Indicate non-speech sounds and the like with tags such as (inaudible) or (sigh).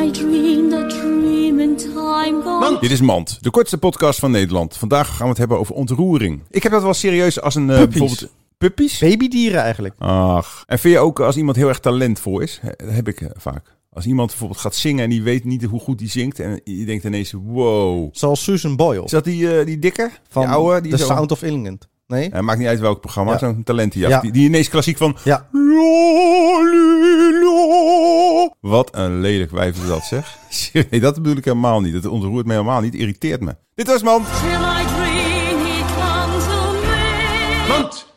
dreamed a dream in time gone Dit is Mand, de kortste podcast van Nederland. Vandaag gaan we het hebben over ontroering. Ik heb dat wel serieus als een... eh, Puppies. bijvoorbeeld- Puppies? Babydieren eigenlijk. Ach. En vind je ook als iemand heel erg talentvol is? He- Dat heb ik eh, vaak. Als iemand bijvoorbeeld gaat zingen en die weet niet hoe goed die zingt. En je denkt ineens, wow. Zoals Susan Boyle. Is dat die, eh, die dikke? Van die oude? Die The zo- Sound of England. Nee? Eh, maakt niet uit welk programma. Ja. Zo'n talentenjacht. Ja. Die, die ineens klassiek van... Ja. Lolilo. Wat een lelijk wijf (laughs) is dat, zeg. Nee, dat bedoel ik helemaal niet. Dat ontroert me helemaal niet. Irriteert me. Dit was Mand. till I dream